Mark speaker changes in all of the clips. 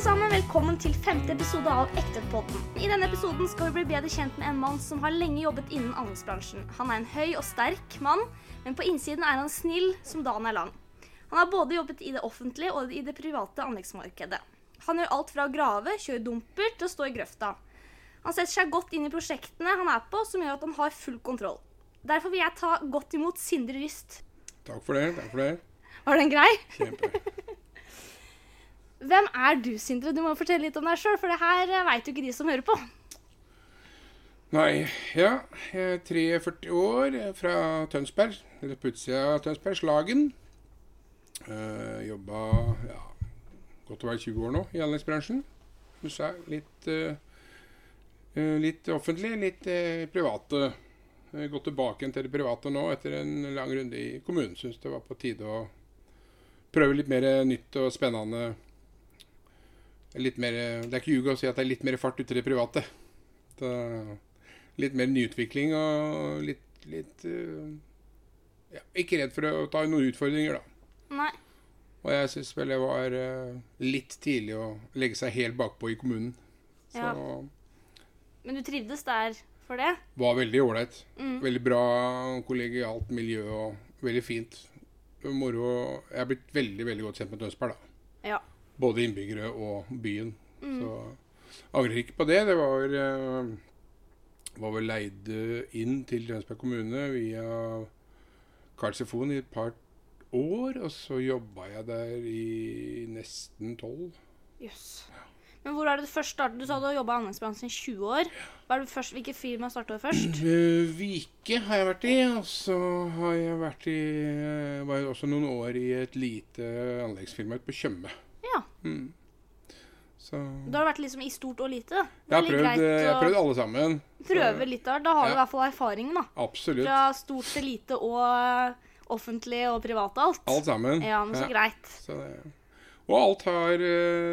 Speaker 1: velkommen til femte episode av Ektepodden. I denne episoden skal vi bli bedre kjent med en mann som har lenge jobbet innen anleggsbransjen. Han er en høy og sterk mann, men på innsiden er han snill som dagen er lang. Han har både jobbet i det offentlige og i det private anleggsmarkedet. Han gjør alt fra å grave, kjøre dumper, til å stå i grøfta. Han setter seg godt inn i prosjektene han er på, som gjør at han har full kontroll. Derfor vil jeg ta godt imot Sindre Ryst.
Speaker 2: Takk for det. takk for det.
Speaker 1: Var den grei?
Speaker 2: Kjempe.
Speaker 1: Hvem er du, Sindre? Du må fortelle litt om deg sjøl, for det her veit jo ikke de som hører på.
Speaker 2: Nei, ja. Jeg er 43 år, jeg er fra Tønsberg. Eller på utsida av Tønsberg, Slagen. Uh, jobba ja, godt og vel 20 år nå i anleggsbransjen. Som du sa, litt, eh, eh, litt offentlig, litt eh, private. Jeg har gått tilbake igjen til det private nå etter en lang runde i kommunen. Syns det var på tide å prøve litt mer nytt og spennende. Litt mer, det er ikke ljug å si at det er litt mer fart ute i det private. Da- litt mer nyutvikling og litt, litt eh, ja, Ikke redd for å ta noen utfordringer, da.
Speaker 1: Nei.
Speaker 2: Og jeg syns vel det var eh, litt tidlig å legge seg helt bakpå i kommunen. Så
Speaker 1: Ja. Men du trivdes der for det?
Speaker 2: var veldig ålreit.
Speaker 1: Mm.
Speaker 2: Veldig bra kollegialt miljø og veldig fint. Moro. Jeg er blitt veldig veldig godt kjent med Tønsberg, da.
Speaker 1: Ja.
Speaker 2: Både innbyggere og byen.
Speaker 1: Mm.
Speaker 2: Så angrer ikke på det. Det var, eh, var vel leid eh, inn til Tønsberg kommune via Karlsefon i et par år. Og så jobba jeg der i nesten tolv.
Speaker 1: Jøss. Men hvor er det du først startet? Du sa du har jobba i anleggsbransjen i 20 år. Hva er det du først, hvilke firma starta du først?
Speaker 2: Eh, Vike har jeg vært i, og så har jeg vært i eh, Var jo også noen år i et lite anleggsfirma ute på Tjøme.
Speaker 1: Ja.
Speaker 2: Mm. Så
Speaker 1: Da har du vært liksom i stort og lite. da.
Speaker 2: jeg
Speaker 1: Det er
Speaker 2: har,
Speaker 1: litt
Speaker 2: prøvd,
Speaker 1: greit
Speaker 2: eh, jeg har
Speaker 1: å
Speaker 2: prøvd alle sammen.
Speaker 1: prøve litt der. Da har du i
Speaker 2: Ja.
Speaker 1: hvert fall erfaringen, da.
Speaker 2: Absolutt.
Speaker 1: Fra stort til lite og eh, offentlig og privat alt.
Speaker 2: Alt sammen.
Speaker 1: Ja, men så
Speaker 2: Ja,
Speaker 1: greit.
Speaker 2: så det- og alt har eh,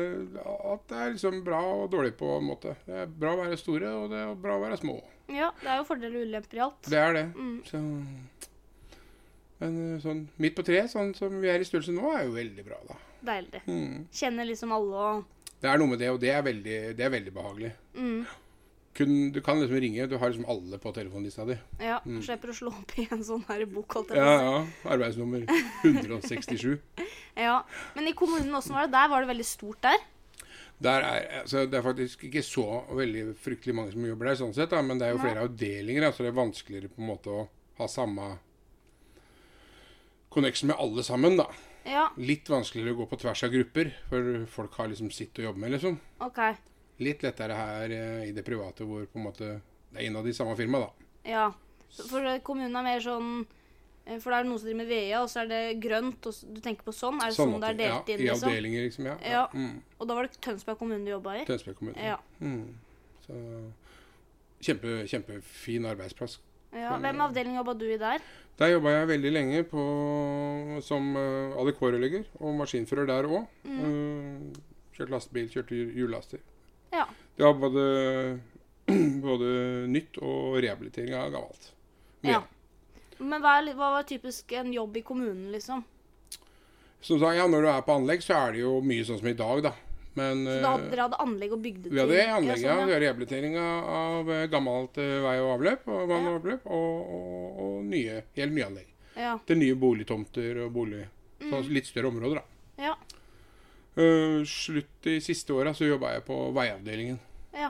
Speaker 2: Alt er liksom bra og dårlig på en måte. Det er bra å være store, og det er bra å være små.
Speaker 1: Ja, det er jo fordeler og ulemper i alt.
Speaker 2: Det er det.
Speaker 1: Mm.
Speaker 2: Så, men eh, sånn midt på treet, sånn som vi er i størrelse nå, er jo veldig bra, da.
Speaker 1: Deilig.
Speaker 2: Mm.
Speaker 1: Kjenner liksom alle og
Speaker 2: Det er noe med det, og det er veldig, det er veldig behagelig.
Speaker 1: mm.
Speaker 2: Kun, du kan liksom ringe, du har liksom alle på telefonlista di.
Speaker 1: Ja,
Speaker 2: Mm.
Speaker 1: slipper å slå opp i en sånn her bok, holdt jeg
Speaker 2: Ja,
Speaker 1: på å si.
Speaker 2: ja. Arbeidsnummer 167.
Speaker 1: Ja. Men i kommunen, åssen var det der? Var det veldig stort der?
Speaker 2: Der er, altså, det er faktisk ikke så veldig fryktelig mange som jobber der, sånn sett, da, men det er jo
Speaker 1: Nei.
Speaker 2: flere avdelinger, da, så det er vanskeligere på en måte å ha samme connection med alle sammen, da.
Speaker 1: Ja,
Speaker 2: Litt vanskeligere å gå på tvers av grupper, for folk har liksom sitt å jobbe med, liksom.
Speaker 1: OK.
Speaker 2: Litt lettere her eh, i det private, hvor på en måte det er innad i samme firma, da.
Speaker 1: Ja. Så For eh, kommunen er mer sånn eh, For det er noen som driver med VEA, og så er det grønt, og s- du tenker på sånn? Er det sånn, det
Speaker 2: at-
Speaker 1: er delt
Speaker 2: ja,
Speaker 1: inn,
Speaker 2: I
Speaker 1: liksom?
Speaker 2: avdelinger, liksom. Ja.
Speaker 1: Ja.
Speaker 2: Mm.
Speaker 1: Og da var det Tønsberg kommune du jobba i?
Speaker 2: Tønsberg kommune.
Speaker 1: Ja.
Speaker 2: Mm. Så kjempe, kjempefin arbeidsplass.
Speaker 1: ja. Hvem avdeling jobba du i der?
Speaker 2: Der jobba jeg veldig lenge på, som uh, ADK-rørlegger og maskinfører der òg.
Speaker 1: Mm.
Speaker 2: kjørte lastebil, kjørte hjul- hjullaster.
Speaker 1: Ja.
Speaker 2: Det var både, både nytt og rehabilitering av gammelt.
Speaker 1: ja. Men hva, er li- hva var typisk en jobb i kommunen, liksom?
Speaker 2: Som sagt, ja, når du er på anlegg, så er det jo mye sånn som i dag, da. Men
Speaker 1: Så da
Speaker 2: eh,
Speaker 1: hadde, dere hadde anlegg og bygde
Speaker 2: Vi hadde
Speaker 1: Ja,
Speaker 2: anlegget,
Speaker 1: sånn,
Speaker 2: ja, vi
Speaker 1: ja.
Speaker 2: hadde rehabilitering av av, eh, gammelt eh, vei og avløp, og vann og
Speaker 1: Ja.
Speaker 2: avløp, og, og, og nye, helt nye anlegg.
Speaker 1: Ja.
Speaker 2: Til nye boligtomter og bolig, så litt større områder da.
Speaker 1: Mm. ja.
Speaker 2: Eh, slutt i siste året så jobbet jeg på veiavdelingen.
Speaker 1: Ja.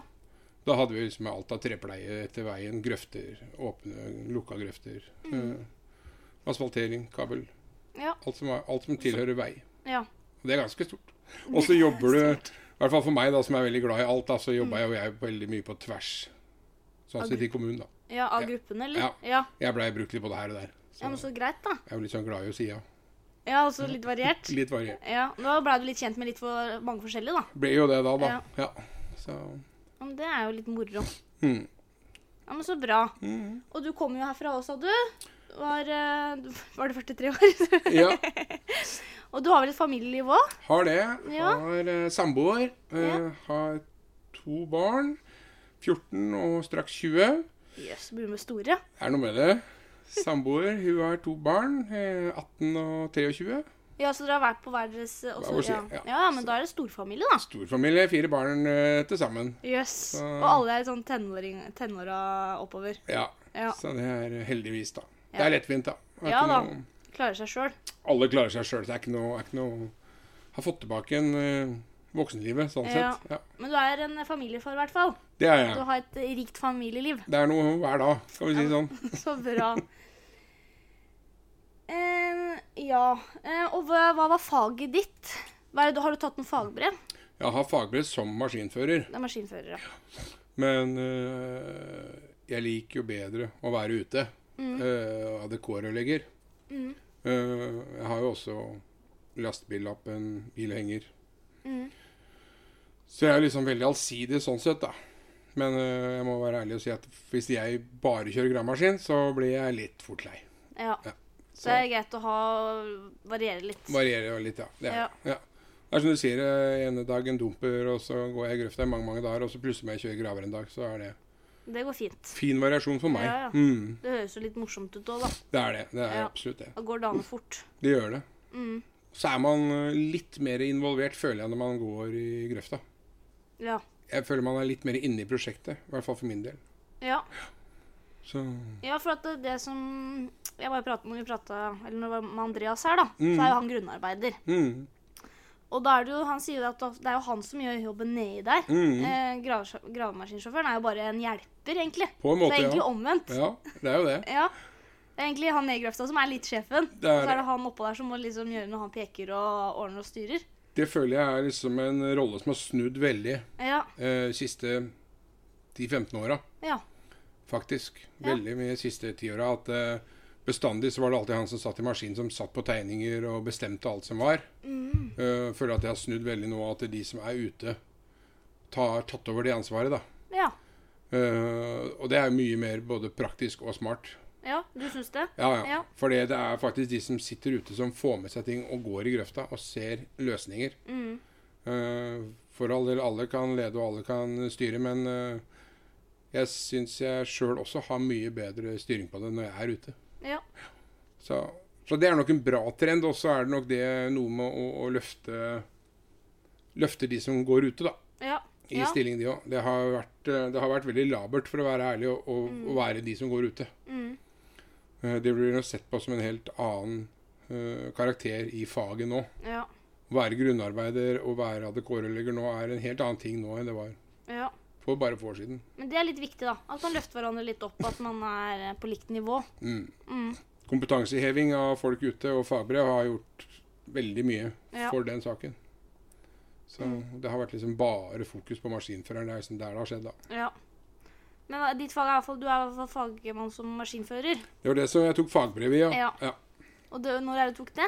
Speaker 2: Da hadde vi liksom alt av trepleie etter veien, grøfter, åpne, lukka grøfter, eh, asfaltering, kabel,
Speaker 1: Mm. Ja.
Speaker 2: alt som, er- alt som tilhører vei.
Speaker 1: ja.
Speaker 2: Og det er ganske stort. Og så jobber du, i hvert fall for meg da, som er veldig glad i alt, da, så
Speaker 1: Mm.
Speaker 2: jobba jeg og jeg veldig mye på tvers. Sånn sett i kommunen, da.
Speaker 1: Ja, av
Speaker 2: Ja.
Speaker 1: gruppene, eller?
Speaker 2: Ja.
Speaker 1: ja.
Speaker 2: Jeg blei brukt litt både her og der.
Speaker 1: Ja,
Speaker 2: Så
Speaker 1: men så greit, da.
Speaker 2: jeg er jo litt sånn glad i å si ja.
Speaker 1: Ja, altså litt variert.
Speaker 2: Litt variert.
Speaker 1: Ja, Da blei du litt kjent med litt for mange forskjellige, da.
Speaker 2: Ble jo det da, da.
Speaker 1: Ja.
Speaker 2: Ja. Så
Speaker 1: Ja, men Det er jo litt moro.
Speaker 2: mm.
Speaker 1: Ja, men Så bra.
Speaker 2: Mm.
Speaker 1: Og du kommer jo herfra òg, sa du. Var, eh, du- var det 43 år?
Speaker 2: Ja.
Speaker 1: Og du har vel et familieliv òg?
Speaker 2: Har det.
Speaker 1: Ja.
Speaker 2: Har eh, samboer. Eh,
Speaker 1: Ja.
Speaker 2: Har to barn. 14 og straks
Speaker 1: Jøss,
Speaker 2: 20.
Speaker 1: yes, begynner med store.
Speaker 2: Det er noe med det. Samboer. Hun har to barn. Eh, 18 og 23.
Speaker 1: Ja, så dere har vært på hver deres eh, også,
Speaker 2: Hva må jeg si?
Speaker 1: ja.
Speaker 2: Ja.
Speaker 1: ja, ja, men da er det storfamilie, da.
Speaker 2: Storfamilie, fire barn eh, til sammen.
Speaker 1: Jøss. Og
Speaker 2: Så-
Speaker 1: alle er sånn tenåring, tenåra oppover.
Speaker 2: Ja.
Speaker 1: Ja.
Speaker 2: Så det er heldigvis, da. Det
Speaker 1: Ja.
Speaker 2: er lettvint, da. Det er
Speaker 1: Ja
Speaker 2: ikke
Speaker 1: da.
Speaker 2: noe-
Speaker 1: Klarer seg sjøl.
Speaker 2: alle klarer seg sjøl. Det er ikke noe, er ikke noe Har fått tilbake en eh, voksenlivet, sånn
Speaker 1: Ja.
Speaker 2: sett. Ja.
Speaker 1: Men du er en familiefar, i hvert fall.
Speaker 2: Det er
Speaker 1: Du
Speaker 2: jeg.
Speaker 1: har et eh, rikt familieliv.
Speaker 2: Det er noe hver dag, skal vi si det sånn.
Speaker 1: Så bra. Eh, ja. Eh, og hva, hva var faget ditt? Hva er det, du- har du tatt noen fagbrev?
Speaker 2: Jeg har fagbrev som maskinfører,
Speaker 1: Det er maskinfører, ja.
Speaker 2: men eh, jeg liker jo bedre å være ute. Mm. ADK-rørlegger.
Speaker 1: Mm.
Speaker 2: Eh, jeg har jo også lastebillappen, bilhenger.
Speaker 1: Mm.
Speaker 2: Så jeg er liksom veldig allsidig sånn sett, da. Men eh, jeg må være ærlig og si at hvis jeg bare kjører gravemaskin, så blir jeg litt fort lei.
Speaker 1: ja.
Speaker 2: Ja.
Speaker 1: Så det er greit å ha variere litt.
Speaker 2: Varierer jo litt, ja. Det er,
Speaker 1: Ja.
Speaker 2: det. ja. Det er som du sier, eh, ene dagen dumper, og så går jeg i grøfta i mange mange dager, og så plutselig må jeg kjøre graver en dag. Så er det
Speaker 1: Det går fint.
Speaker 2: fin variasjon for meg.
Speaker 1: Ja, ja.
Speaker 2: Mm,
Speaker 1: Det høres jo litt morsomt ut òg, da.
Speaker 2: det er det. Det er
Speaker 1: Ja.
Speaker 2: absolutt det.
Speaker 1: Da går dagene fort.
Speaker 2: Det gjør det.
Speaker 1: Mm.
Speaker 2: Så er man eh, litt mer involvert, føler jeg, når man går i grøfta.
Speaker 1: Ja.
Speaker 2: Jeg føler man er litt mer inne i prosjektet, i hvert fall for min del.
Speaker 1: ja.
Speaker 2: Så
Speaker 1: Ja, for at det, det som jeg bare pratet, Når vi prata eller når det var med Andreas her, da, så er jo han grunnarbeider.
Speaker 2: mm,
Speaker 1: Og da er det jo, han sier jo at det er jo han som gjør jobben nedi der.
Speaker 2: mm,
Speaker 1: Eh, grave, gravemaskinsjåføren er jo bare en hjelper, egentlig.
Speaker 2: På
Speaker 1: så det
Speaker 2: en måte,
Speaker 1: er egentlig
Speaker 2: ja.
Speaker 1: omvendt.
Speaker 2: Ja, det er jo det.
Speaker 1: Ja. Det er egentlig han nede i grøfta som er litt sjefen.
Speaker 2: Det er
Speaker 1: og så er
Speaker 2: det.
Speaker 1: det han oppå der som må liksom gjøre når han peker og ordner og styrer.
Speaker 2: Det føler jeg er liksom en rolle som har snudd veldig
Speaker 1: Ja.
Speaker 2: eh, siste 10-15 åra.
Speaker 1: Ja.
Speaker 2: faktisk.
Speaker 1: Ja.
Speaker 2: Veldig mye de siste tiåra. At eh, bestandig så var det alltid han som satt i maskinen, som satt på tegninger og bestemte alt som var.
Speaker 1: Mm.
Speaker 2: Eh, føler at jeg har snudd veldig nå, at de som er ute, tar tatt over det ansvaret, da.
Speaker 1: Ja.
Speaker 2: Eh, og det er mye mer både praktisk og smart.
Speaker 1: ja. Du syns det?
Speaker 2: Ja, ja.
Speaker 1: Ja.
Speaker 2: For det er faktisk de som sitter ute, som får med seg ting og går i grøfta og ser løsninger.
Speaker 1: Mm.
Speaker 2: Eh, for all del, alle kan lede og alle kan styre, men eh, jeg syns jeg sjøl også har mye bedre styring på det når jeg er ute.
Speaker 1: Ja.
Speaker 2: Så, så det er nok en bra trend, og så er det nok det noe med å, å løfte Løfte de som går ute, da.
Speaker 1: Ja.
Speaker 2: I
Speaker 1: ja.
Speaker 2: stilling, de òg. Det, har vært, eh, det har vært veldig labert, for å være ærlig, å, å, å være de som går ute.
Speaker 1: Mm.
Speaker 2: Eh, Det blir nok sett på som en helt annen eh, karakter i faget nå.
Speaker 1: Ja.
Speaker 2: Å være grunnarbeider og være ADK-rørlegger nå er en helt annen ting nå enn det var
Speaker 1: ja.
Speaker 2: for bare få år siden.
Speaker 1: Men det er litt viktig, da. At man løfter hverandre litt opp, at man er eh, på likt nivå.
Speaker 2: Mm.
Speaker 1: Mm.
Speaker 2: Kompetanseheving av folk ute og fagbrev har gjort veldig mye
Speaker 1: Ja. Mm.
Speaker 2: for den saken. Så det har vært liksom bare fokus på maskinføreren. Det er liksom der det har skjedd, da.
Speaker 1: Ja. Men hva- ditt fag er i hvert fall Du er i hvert fall fagmann som maskinfører.
Speaker 2: Det var det som jeg tok fagbrev i, ja.
Speaker 1: Ja. Og det, når er det du tok det?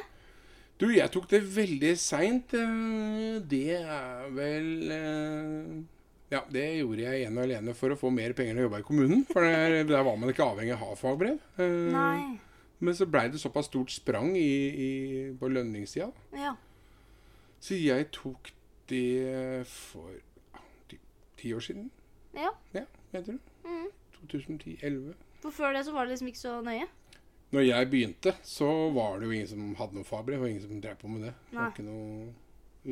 Speaker 2: Du, jeg tok det veldig seint. eh, Det er vel eh, Ja, det gjorde jeg ene og alene for å få mer penger til å jobbe i kommunen. For der, der var man ikke avhengig av å ha fagbrev. Eh,
Speaker 1: Nei.
Speaker 2: Men så blei det såpass stort sprang i, i, på lønningstida.
Speaker 1: Ja.
Speaker 2: Så jeg tok det for ja, typ ti år siden.
Speaker 1: ja.
Speaker 2: Ja, jeg tror.
Speaker 1: Mhm.
Speaker 2: 2010-2011.
Speaker 1: For før det så var det liksom ikke så nøye.
Speaker 2: Når jeg begynte, så var det jo ingen som hadde noe fagbrev, og ingen som drev på med det. Det var
Speaker 1: Nei.
Speaker 2: ikke noe...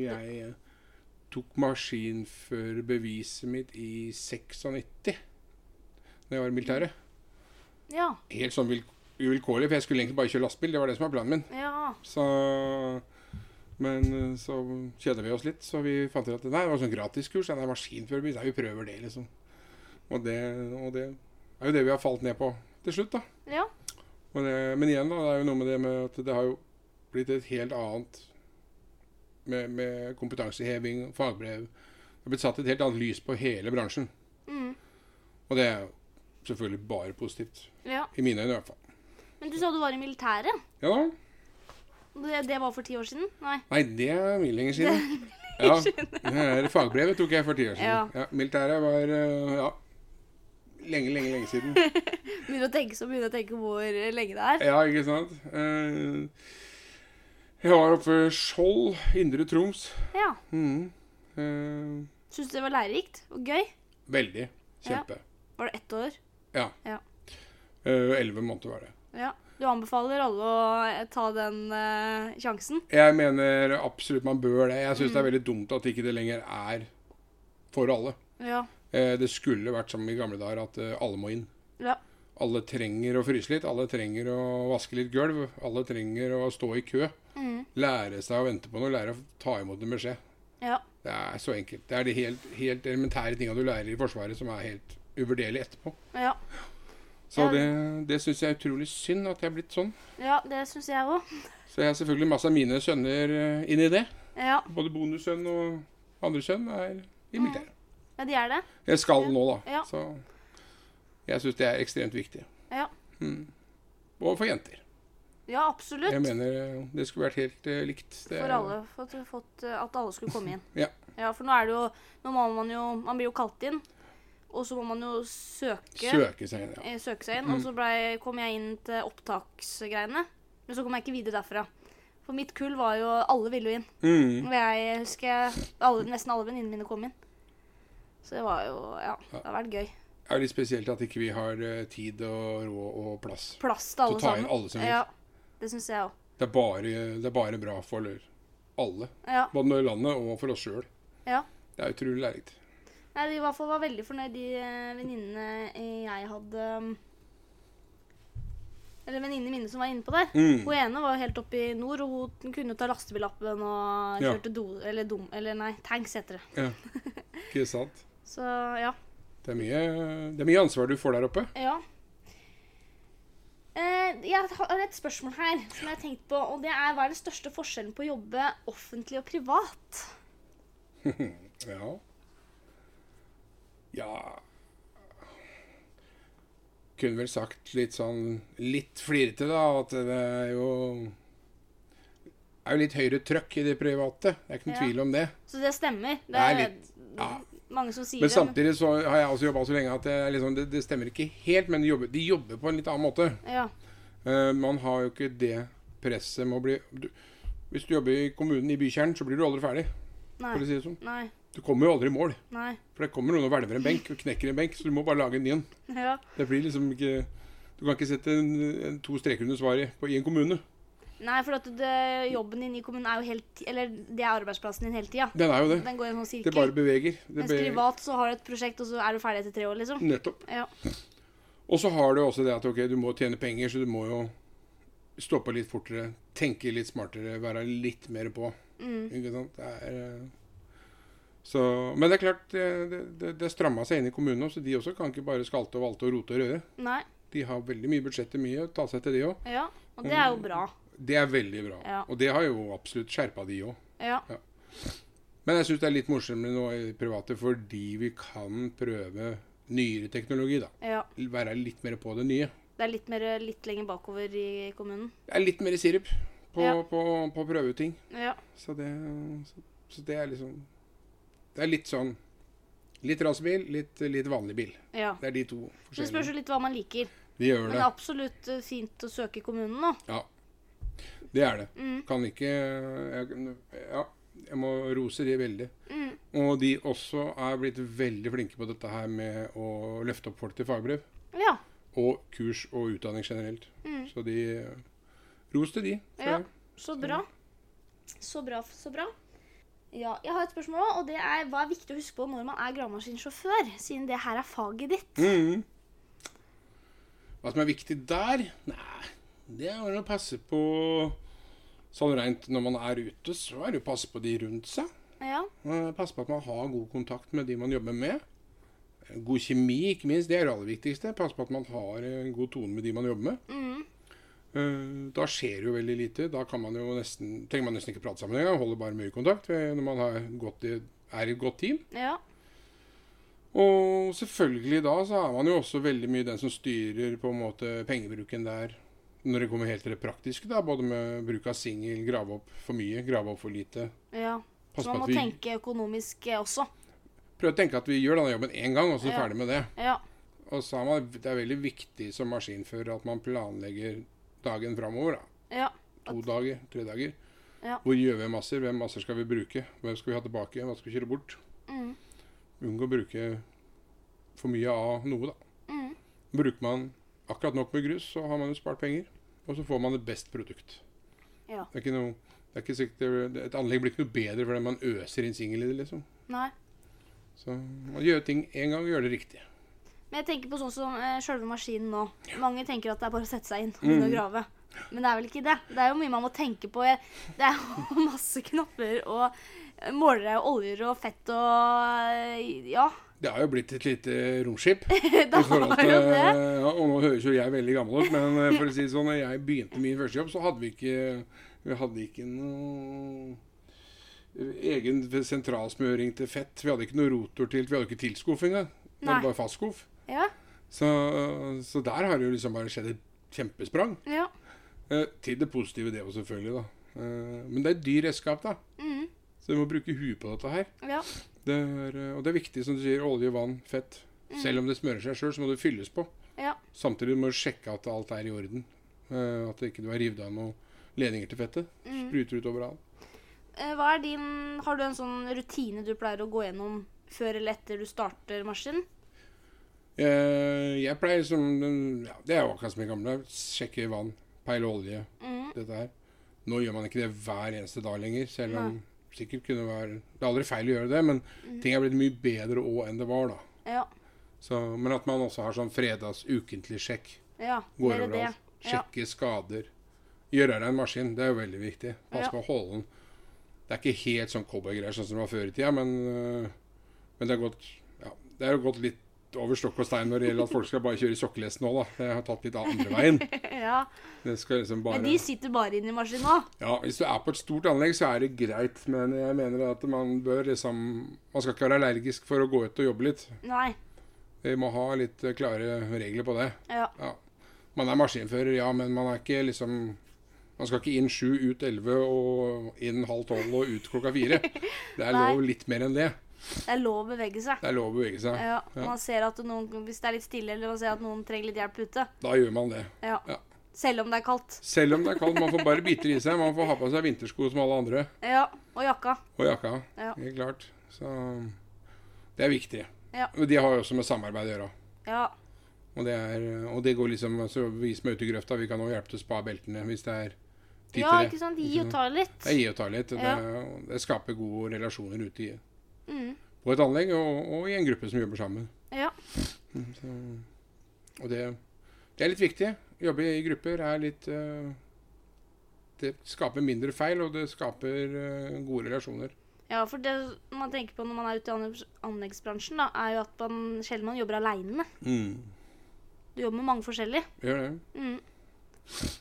Speaker 2: Jeg eh, tok maskinførerbeviset mitt i 96, da jeg var i militæret.
Speaker 1: Ja.
Speaker 2: Helt sånn vil uvilkårlig, for jeg skulle egentlig bare kjøre lastebil. Det var det som var planen min.
Speaker 1: Ja.
Speaker 2: Så... Men eh, så kjeda vi oss litt, så vi fant ut at nei, det var sånn gratiskurs. Det er maskinførerbevis. Nei, vi prøver det, liksom. Og det, og det er jo det vi har falt ned på til slutt, da.
Speaker 1: Ja.
Speaker 2: Men, det, men igjen, da, det er jo noe med det med at det har jo blitt et helt annet med, med kompetanseheving, fagbrev. Det har blitt satt et helt annet lys på hele bransjen.
Speaker 1: Mm.
Speaker 2: Og det er jo selvfølgelig bare positivt.
Speaker 1: ja.
Speaker 2: I mine øyne i hvert fall.
Speaker 1: Men du sa du var i militæret.
Speaker 2: Ja da.
Speaker 1: Det, det var for ti år siden? Nei.
Speaker 2: Nei, det er mye lenger siden. Ja, det er fagbrevet tok jeg for ti år
Speaker 1: Ja.
Speaker 2: siden. Ja, militæret var øh, ja, lenge, lenge, lenge siden.
Speaker 1: Begynner å tenke så begynner jeg å tenke hvor eh, lenge det er.
Speaker 2: Ja, ikke sant? Eh, Jeg var oppe ved Skjold, Indre Troms.
Speaker 1: Ja.
Speaker 2: Mhm. Eh,
Speaker 1: Syns du det var lærerikt og gøy?
Speaker 2: Veldig. Kjempe.
Speaker 1: Var det ett år?
Speaker 2: Ja.
Speaker 1: Ja.
Speaker 2: Eh, Elleve måneder var det.
Speaker 1: Ja. Du anbefaler alle å eh, ta den eh, sjansen.
Speaker 2: Jeg mener absolutt man bør det. Jeg syns det er veldig dumt at ikke det lenger er for alle.
Speaker 1: Ja.
Speaker 2: Eh, Det skulle vært som i gamle dager at eh, alle må inn.
Speaker 1: ja.
Speaker 2: Alle trenger å fryse litt, alle trenger å vaske litt gulv, alle trenger å stå i kø.
Speaker 1: Mm.
Speaker 2: Lære seg å vente på noe, lære å ta imot en beskjed.
Speaker 1: ja.
Speaker 2: Det er så enkelt. Det er de helt, helt elementære tinga du lærer i Forsvaret som er helt uvurderlig etterpå.
Speaker 1: Ja.
Speaker 2: Så
Speaker 1: Ja.
Speaker 2: det, det syns jeg er utrolig synd at jeg er blitt sånn.
Speaker 1: ja det syns jeg òg.
Speaker 2: Så jeg har selvfølgelig masse av mine sønner eh, inn i det.
Speaker 1: Ja.
Speaker 2: Både bonussønn og andre sønn er i militæret.
Speaker 1: ja, de er det.
Speaker 2: Jeg skal nå, da.
Speaker 1: Ja.
Speaker 2: Så jeg syns det er ekstremt viktig.
Speaker 1: Ja.
Speaker 2: Mm. Og for jenter.
Speaker 1: Ja, absolutt.
Speaker 2: Jeg mener eh, det skulle vært helt eh, likt. Det
Speaker 1: For
Speaker 2: er-
Speaker 1: alle. For at, for eh, at alle skulle komme inn.
Speaker 2: Ja.
Speaker 1: ja. For nå er det jo Nå må man jo Man blir jo kalt inn, og så må man jo søke.
Speaker 2: Søke seg inn, ja.
Speaker 1: eh, søke seg inn. Og så
Speaker 2: Mm.
Speaker 1: blei- kom jeg inn til opptaksgreiene. Men så kom jeg ikke videre derfra. For mitt kull var jo Alle ville jo inn.
Speaker 2: Mm.
Speaker 1: Og jeg husker jeg, alle, nesten alle venninnene mine kom inn. Så det var jo Ja, det har vært gøy.
Speaker 2: Det er litt spesielt at ikke vi har eh, tid og råd og plass.
Speaker 1: Plass til alle
Speaker 2: Så ta inn
Speaker 1: sammen.
Speaker 2: alle som vil.
Speaker 1: Ja, det syns jeg òg.
Speaker 2: Det er bare, det er bare bra for alle.
Speaker 1: Ja.
Speaker 2: Både i landet og for oss sjøl.
Speaker 1: ja.
Speaker 2: Det er utrolig lærerikt.
Speaker 1: Nei, de i hvert fall var veldig fornøyd, de eh, venninnene jeg hadde um, Eller venninnene mine som var inne på der.
Speaker 2: Mm.
Speaker 1: Hun ene var jo helt oppe i nord, og hun kunne jo ta lastebillappen og
Speaker 2: Ja.
Speaker 1: kjørte do... Eller dum... Eller nei, tanks heter det.
Speaker 2: Ja. Ikke sant?
Speaker 1: Så ja.
Speaker 2: Det er, mye, det er mye ansvar du får der oppe.
Speaker 1: Ja. Eh, jeg har et spørsmål her som jeg har tenkt på, og det er hva er den største forskjellen på å jobbe offentlig og privat?
Speaker 2: Ja. Ja Kunne vel sagt litt sånn litt flirete, da, at det er jo er jo litt høyere trøkk i det private. Det er ikke noen
Speaker 1: Ja.
Speaker 2: tvil om det.
Speaker 1: Så det stemmer. Det
Speaker 2: Det er
Speaker 1: er
Speaker 2: litt- ja.
Speaker 1: mange som sier
Speaker 2: Men
Speaker 1: det.
Speaker 2: samtidig så har jeg også jobba så lenge at det, er liksom, det, det stemmer ikke helt. Men de jobber, de jobber på en litt annen måte.
Speaker 1: men- Ja.
Speaker 2: Eh, man har jo ikke det presset med å bli du, Hvis du jobber i kommunen i bykjernen, så blir du aldri ferdig.
Speaker 1: Nei.
Speaker 2: For å si det sånn.
Speaker 1: Nei.
Speaker 2: Du kommer jo aldri i mål.
Speaker 1: Nei.
Speaker 2: For det kommer noen og hvelver en benk og knekker en benk, så du må bare lage en ny en.
Speaker 1: Ja.
Speaker 2: Det blir liksom ikke Du kan ikke sette en, en, to streker under svaret på, i en kommune.
Speaker 1: Nei, for at det, jobben din i kommunen er jo helt Eller det er arbeidsplassen din hele tida.
Speaker 2: Den er jo det.
Speaker 1: Den går i en sånn
Speaker 2: Det bare
Speaker 1: sirkel.
Speaker 2: beveger. Det
Speaker 1: Mens
Speaker 2: be-
Speaker 1: privat så har du et prosjekt, og så er du ferdig etter tre år, liksom.
Speaker 2: Nettopp.
Speaker 1: Ja.
Speaker 2: Og så har du også det at ok, du må tjene penger, så du må jo stå på litt fortere, tenke litt smartere, være litt mer på.
Speaker 1: Mm.
Speaker 2: Ikke sant? Det er, eh, så, men det er klart, det- det, det, det stramma seg inn i kommunen òg, så de også kan ikke bare skalte og valte og rote og røre.
Speaker 1: Nei.
Speaker 2: De har veldig mye budsjetter, mye å ta seg til det òg.
Speaker 1: Ja. Og det er
Speaker 2: Mm.
Speaker 1: jo bra.
Speaker 2: Det er veldig bra.
Speaker 1: Ja.
Speaker 2: Og det har jo absolutt skjerpa de òg.
Speaker 1: Ja.
Speaker 2: Men jeg syns det er litt morsommere nå i det private fordi vi kan prøve nyere teknologi, da.
Speaker 1: ja.
Speaker 2: Være litt mer på det nye.
Speaker 1: Det er litt, mer, litt lenger bakover i kommunen.
Speaker 2: Det er litt mer sirup på,
Speaker 1: Ja.
Speaker 2: på, på å prøve ut ting.
Speaker 1: Ja.
Speaker 2: Så det, så, så det er liksom Det er litt sånn Litt rasebil, litt, litt vanlig bil.
Speaker 1: ja.
Speaker 2: Det er de to
Speaker 1: Så det spørs
Speaker 2: forskjellige.
Speaker 1: jo litt hva man liker.
Speaker 2: De gjør
Speaker 1: Men det
Speaker 2: det.
Speaker 1: er absolutt eh, fint å søke i kommunen nå.
Speaker 2: Det er det.
Speaker 1: Mm.
Speaker 2: Kan ikke jeg, Ja, jeg må rose de veldig.
Speaker 1: Mm.
Speaker 2: Og de også er blitt veldig flinke på dette her med å løfte opp folk til fagbrev.
Speaker 1: Ja.
Speaker 2: Og kurs og utdanning generelt.
Speaker 1: Mm.
Speaker 2: Så de eh, Ros til de. for
Speaker 1: Ja.
Speaker 2: det.
Speaker 1: Så bra. Så bra, så bra. Ja, jeg har et spørsmål òg, og det er hva er viktig å huske på når man er gravemaskinsjåfør, siden det her er faget ditt.
Speaker 2: Mhm. Hva som er viktig der? Nei, det er vel å passe på Sånn rent når man er ute, så er det å passe på de rundt seg.
Speaker 1: Ja.
Speaker 2: Eh, Passe på at man har god kontakt med de man jobber med. Eh, God kjemi, ikke minst. Det er det aller viktigste. Passe på at man har eh, en god tone med de man jobber med.
Speaker 1: Mm.
Speaker 2: Eh, Da skjer jo veldig lite. Da kan man jo nesten, trenger man nesten ikke prate sammen engang. Holder bare mye kontakt eh, når man har gått i, er i et godt team.
Speaker 1: Ja.
Speaker 2: Og selvfølgelig da så er man jo også veldig mye den som styrer på en måte pengebruken der. Når det kommer helt til det praktiske, da, både med bruk av singel, grave opp for mye, grave opp for lite.
Speaker 1: ja.
Speaker 2: Pass
Speaker 1: Så
Speaker 2: på
Speaker 1: man
Speaker 2: at
Speaker 1: må
Speaker 2: vi
Speaker 1: tenke økonomisk eh, også.
Speaker 2: prøver å tenke at vi gjør denne jobben én gang, og så
Speaker 1: Ja.
Speaker 2: ferdig med det.
Speaker 1: Ja.
Speaker 2: Og så er man, det er veldig viktig som maskinfører at man planlegger dagen framover. Da.
Speaker 1: Ja.
Speaker 2: To dager, tre dager.
Speaker 1: Ja.
Speaker 2: Hvor gjør vi masser? Hvem masser skal vi bruke? Hvem skal vi ha tilbake? Hva skal vi kjøre bort?
Speaker 1: Mm.
Speaker 2: Unngå å bruke for mye av noe, da.
Speaker 1: Mm.
Speaker 2: Bruker man akkurat nok med grus, så har man jo spart penger. og så får man et best produkt.
Speaker 1: Ja.
Speaker 2: Det er ikke noe det er ikke sikkert, Et anlegg blir ikke noe bedre fordi man øser inn singel i det, liksom.
Speaker 1: Nei.
Speaker 2: Så man gjør ting én gang og gjør det riktig.
Speaker 1: Men jeg tenker på sånn som eh, sjølve maskinen nå. Mange tenker at det er bare å sette seg inn og begynne å
Speaker 2: Mm.
Speaker 1: grave. Men det er vel ikke det. Det er jo mye man må tenke på. Jeg- Det er jo masse knopper og eh, målere og oljer og fett og eh, Ja.
Speaker 2: Det har jo blitt et lite romskip.
Speaker 1: Det
Speaker 2: I forhold
Speaker 1: har
Speaker 2: til, eh,
Speaker 1: jo det.
Speaker 2: ja, og nå høres jo jeg veldig gammel ut, men eh, for å si det sånn, når jeg begynte min første jobb, så hadde vi ikke, vi hadde ikke noe egen sentralsmøring til fett. Vi hadde ikke noe rotor til, vi hadde ikke tilskuff engang. Det
Speaker 1: Nei.
Speaker 2: var bare fastskuff.
Speaker 1: Ja.
Speaker 2: Så, så der har det jo liksom bare skjedd et kjempesprang.
Speaker 1: ja.
Speaker 2: Eh, Til det positive det også, selvfølgelig, da. Eh, Men det er et dyr redskap, da.
Speaker 1: Mm,
Speaker 2: Så du må bruke huet på dette her.
Speaker 1: ja.
Speaker 2: Det er, eh, og det er viktig, som du sier, olje, vann, fett. Selv om det smører seg sjøl, så må det fylles på.
Speaker 1: Ja.
Speaker 2: Samtidig må du sjekke at alt er i orden. eh, At det ikke du har revet av noen ledninger til fettet. Spruter ut overalt.
Speaker 1: Eh, Hva er din Har du en sånn rutine du pleier å gå gjennom før eller etter du starter maskinen?
Speaker 2: Eh, Jeg pleier som den- ja, Det er jo akkurat som i gamle dager. Sjekke vann, peile olje,
Speaker 1: Mm,
Speaker 2: dette her. Nå gjør man ikke det hver eneste dag lenger, selv om sikkert kunne være Det er aldri feil å gjøre det, men ting er blitt mye bedre òg enn det var, da.
Speaker 1: ja.
Speaker 2: Så, men at man også har sånn fredags ukentlig sjekk.
Speaker 1: Ja.
Speaker 2: Går
Speaker 1: mer
Speaker 2: over det.
Speaker 1: det. Ja.
Speaker 2: Sjekke skader. Gjøre deg en maskin, det er jo veldig viktig. Pass
Speaker 1: Ja.
Speaker 2: på å holde den. Det er ikke helt sånn cowboygreier sånn som det var før i tida, men, øh, men det, er gått, ja, det er jo gått litt over stokk og stein når det gjelder at folk skal bare kjøre i sokkelesten nå, da. Det har tatt litt av andre veien.
Speaker 1: ja.
Speaker 2: Det skal liksom
Speaker 1: Men de
Speaker 2: bare...
Speaker 1: sitter bare inni maskinen nå.
Speaker 2: Ja, hvis du er på et stort anlegg, så er det greit, men jeg mener at man bør liksom Man skal ikke være allergisk for å gå ut og jobbe litt.
Speaker 1: Nei.
Speaker 2: Vi må ha litt øh, klare regler på det.
Speaker 1: Ja.
Speaker 2: Ja. Man er maskinfører, ja, men man er ikke liksom Man skal ikke inn sju, ut elleve og inn halv tolv og ut klokka fire. Det er
Speaker 1: Nei.
Speaker 2: lov litt mer enn det.
Speaker 1: Det er lov å bevege seg.
Speaker 2: Det er lov å bevege seg.
Speaker 1: Ja,
Speaker 2: Ja.
Speaker 1: man ser at noen, Hvis det er litt stille, eller man ser at noen trenger litt hjelp ute.
Speaker 2: Da gjør man det.
Speaker 1: Ja.
Speaker 2: Ja.
Speaker 1: Selv om det er kaldt.
Speaker 2: Selv om det er kaldt. Man får bare biter i seg. Man får ha på seg vintersko som alle andre.
Speaker 1: Ja, Og jakka.
Speaker 2: Og jakka.
Speaker 1: Ja.
Speaker 2: Helt klart. Så det er viktig.
Speaker 1: Ja.
Speaker 2: Og de har jo også med samarbeid å gjøre.
Speaker 1: Ja.
Speaker 2: Og det, er, og det går liksom altså, Vi som er ute i grøfta, vi kan også hjelpe til å spa beltene hvis det er tid
Speaker 1: ja,
Speaker 2: til det.
Speaker 1: ikke sant. Gi og ta litt.
Speaker 2: Det er gi og ta litt. og
Speaker 1: Ja.
Speaker 2: Det, det skaper gode relasjoner ute i,
Speaker 1: Mm.
Speaker 2: på et anlegg og, og i en gruppe som jobber sammen. Mm,
Speaker 1: Ja.
Speaker 2: Så, og det, det er litt viktig. Å jobbe i grupper er litt eh, Det skaper mindre feil, og det skaper eh, gode relasjoner.
Speaker 1: ja, for det man tenker på når man er ute i anleggs- anleggsbransjen, da, er jo at man sjelden man jobber aleine.
Speaker 2: Mm.
Speaker 1: Du jobber med mange forskjellige.
Speaker 2: Gjør det.
Speaker 1: Mm.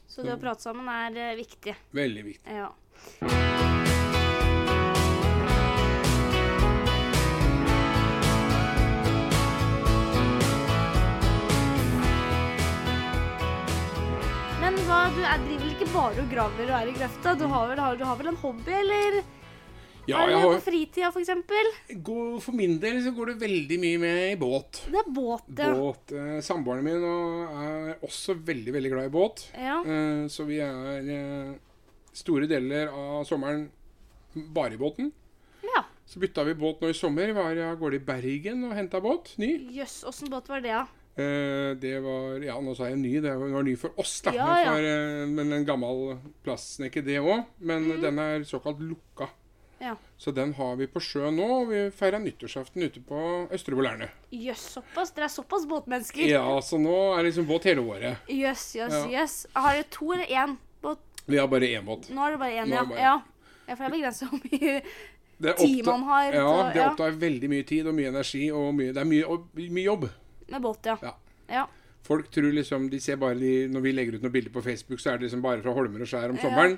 Speaker 1: Så det å prate sammen er eh, viktig.
Speaker 2: Veldig viktig.
Speaker 1: Ja. Men hva, du er, driver vel ikke bare og graver og er i grøfta? Du har vel, har, du har vel en hobby, eller?
Speaker 2: Ja,
Speaker 1: er det
Speaker 2: jeg
Speaker 1: noe
Speaker 2: har,
Speaker 1: på fritida, f.eks.?
Speaker 2: går, for min del så går det veldig mye med i båt.
Speaker 1: Det er båt, ja.
Speaker 2: båt. Eh, Samboeren min og er også veldig, veldig glad i båt.
Speaker 1: Ja.
Speaker 2: Eh, Så vi er eh, store deler av sommeren bare i båten.
Speaker 1: ja.
Speaker 2: Så bytta vi båt nå i sommer. Var jeg av gårde i Bergen og henta båt. Ny.
Speaker 1: Jøss, åssen båt var det, da?
Speaker 2: Eh, Det var Ja, nå sa jeg ny. Det var- var ny for oss, da.
Speaker 1: Ja,
Speaker 2: Men
Speaker 1: ja.
Speaker 2: For, eh, men en gammel plastsnekke, det òg. Men den er såkalt lukka.
Speaker 1: Mm. Ja.
Speaker 2: Så den har vi på sjøen nå. og Vi feira nyttårsaften ute på Østre Bolærne.
Speaker 1: Jøss, såpass? Dere er såpass båtmennesker?
Speaker 2: Ja, så nå er det liksom båt hele året.
Speaker 1: Jøss, jøss,
Speaker 2: Ja.
Speaker 1: jøss. Har dere to eller én båt?
Speaker 2: Vi har bare én båt.
Speaker 1: Nå er det bare én,
Speaker 2: Nå er
Speaker 1: ja.
Speaker 2: det bare
Speaker 1: ja. Ja, for det er begrenset hvor mye
Speaker 2: Det er
Speaker 1: tid
Speaker 2: oppta-
Speaker 1: man har til
Speaker 2: Ja,
Speaker 1: å-
Speaker 2: det
Speaker 1: ja.
Speaker 2: opptar veldig mye tid og mye energi. Og mye, det er mye, og mye jobb.
Speaker 1: med båt, ja.
Speaker 2: Ja.
Speaker 1: Ja.
Speaker 2: Folk tror liksom, de ser bare de, Når vi legger ut noen bilder på Facebook, så er det liksom bare fra holmer og skjær om sommeren.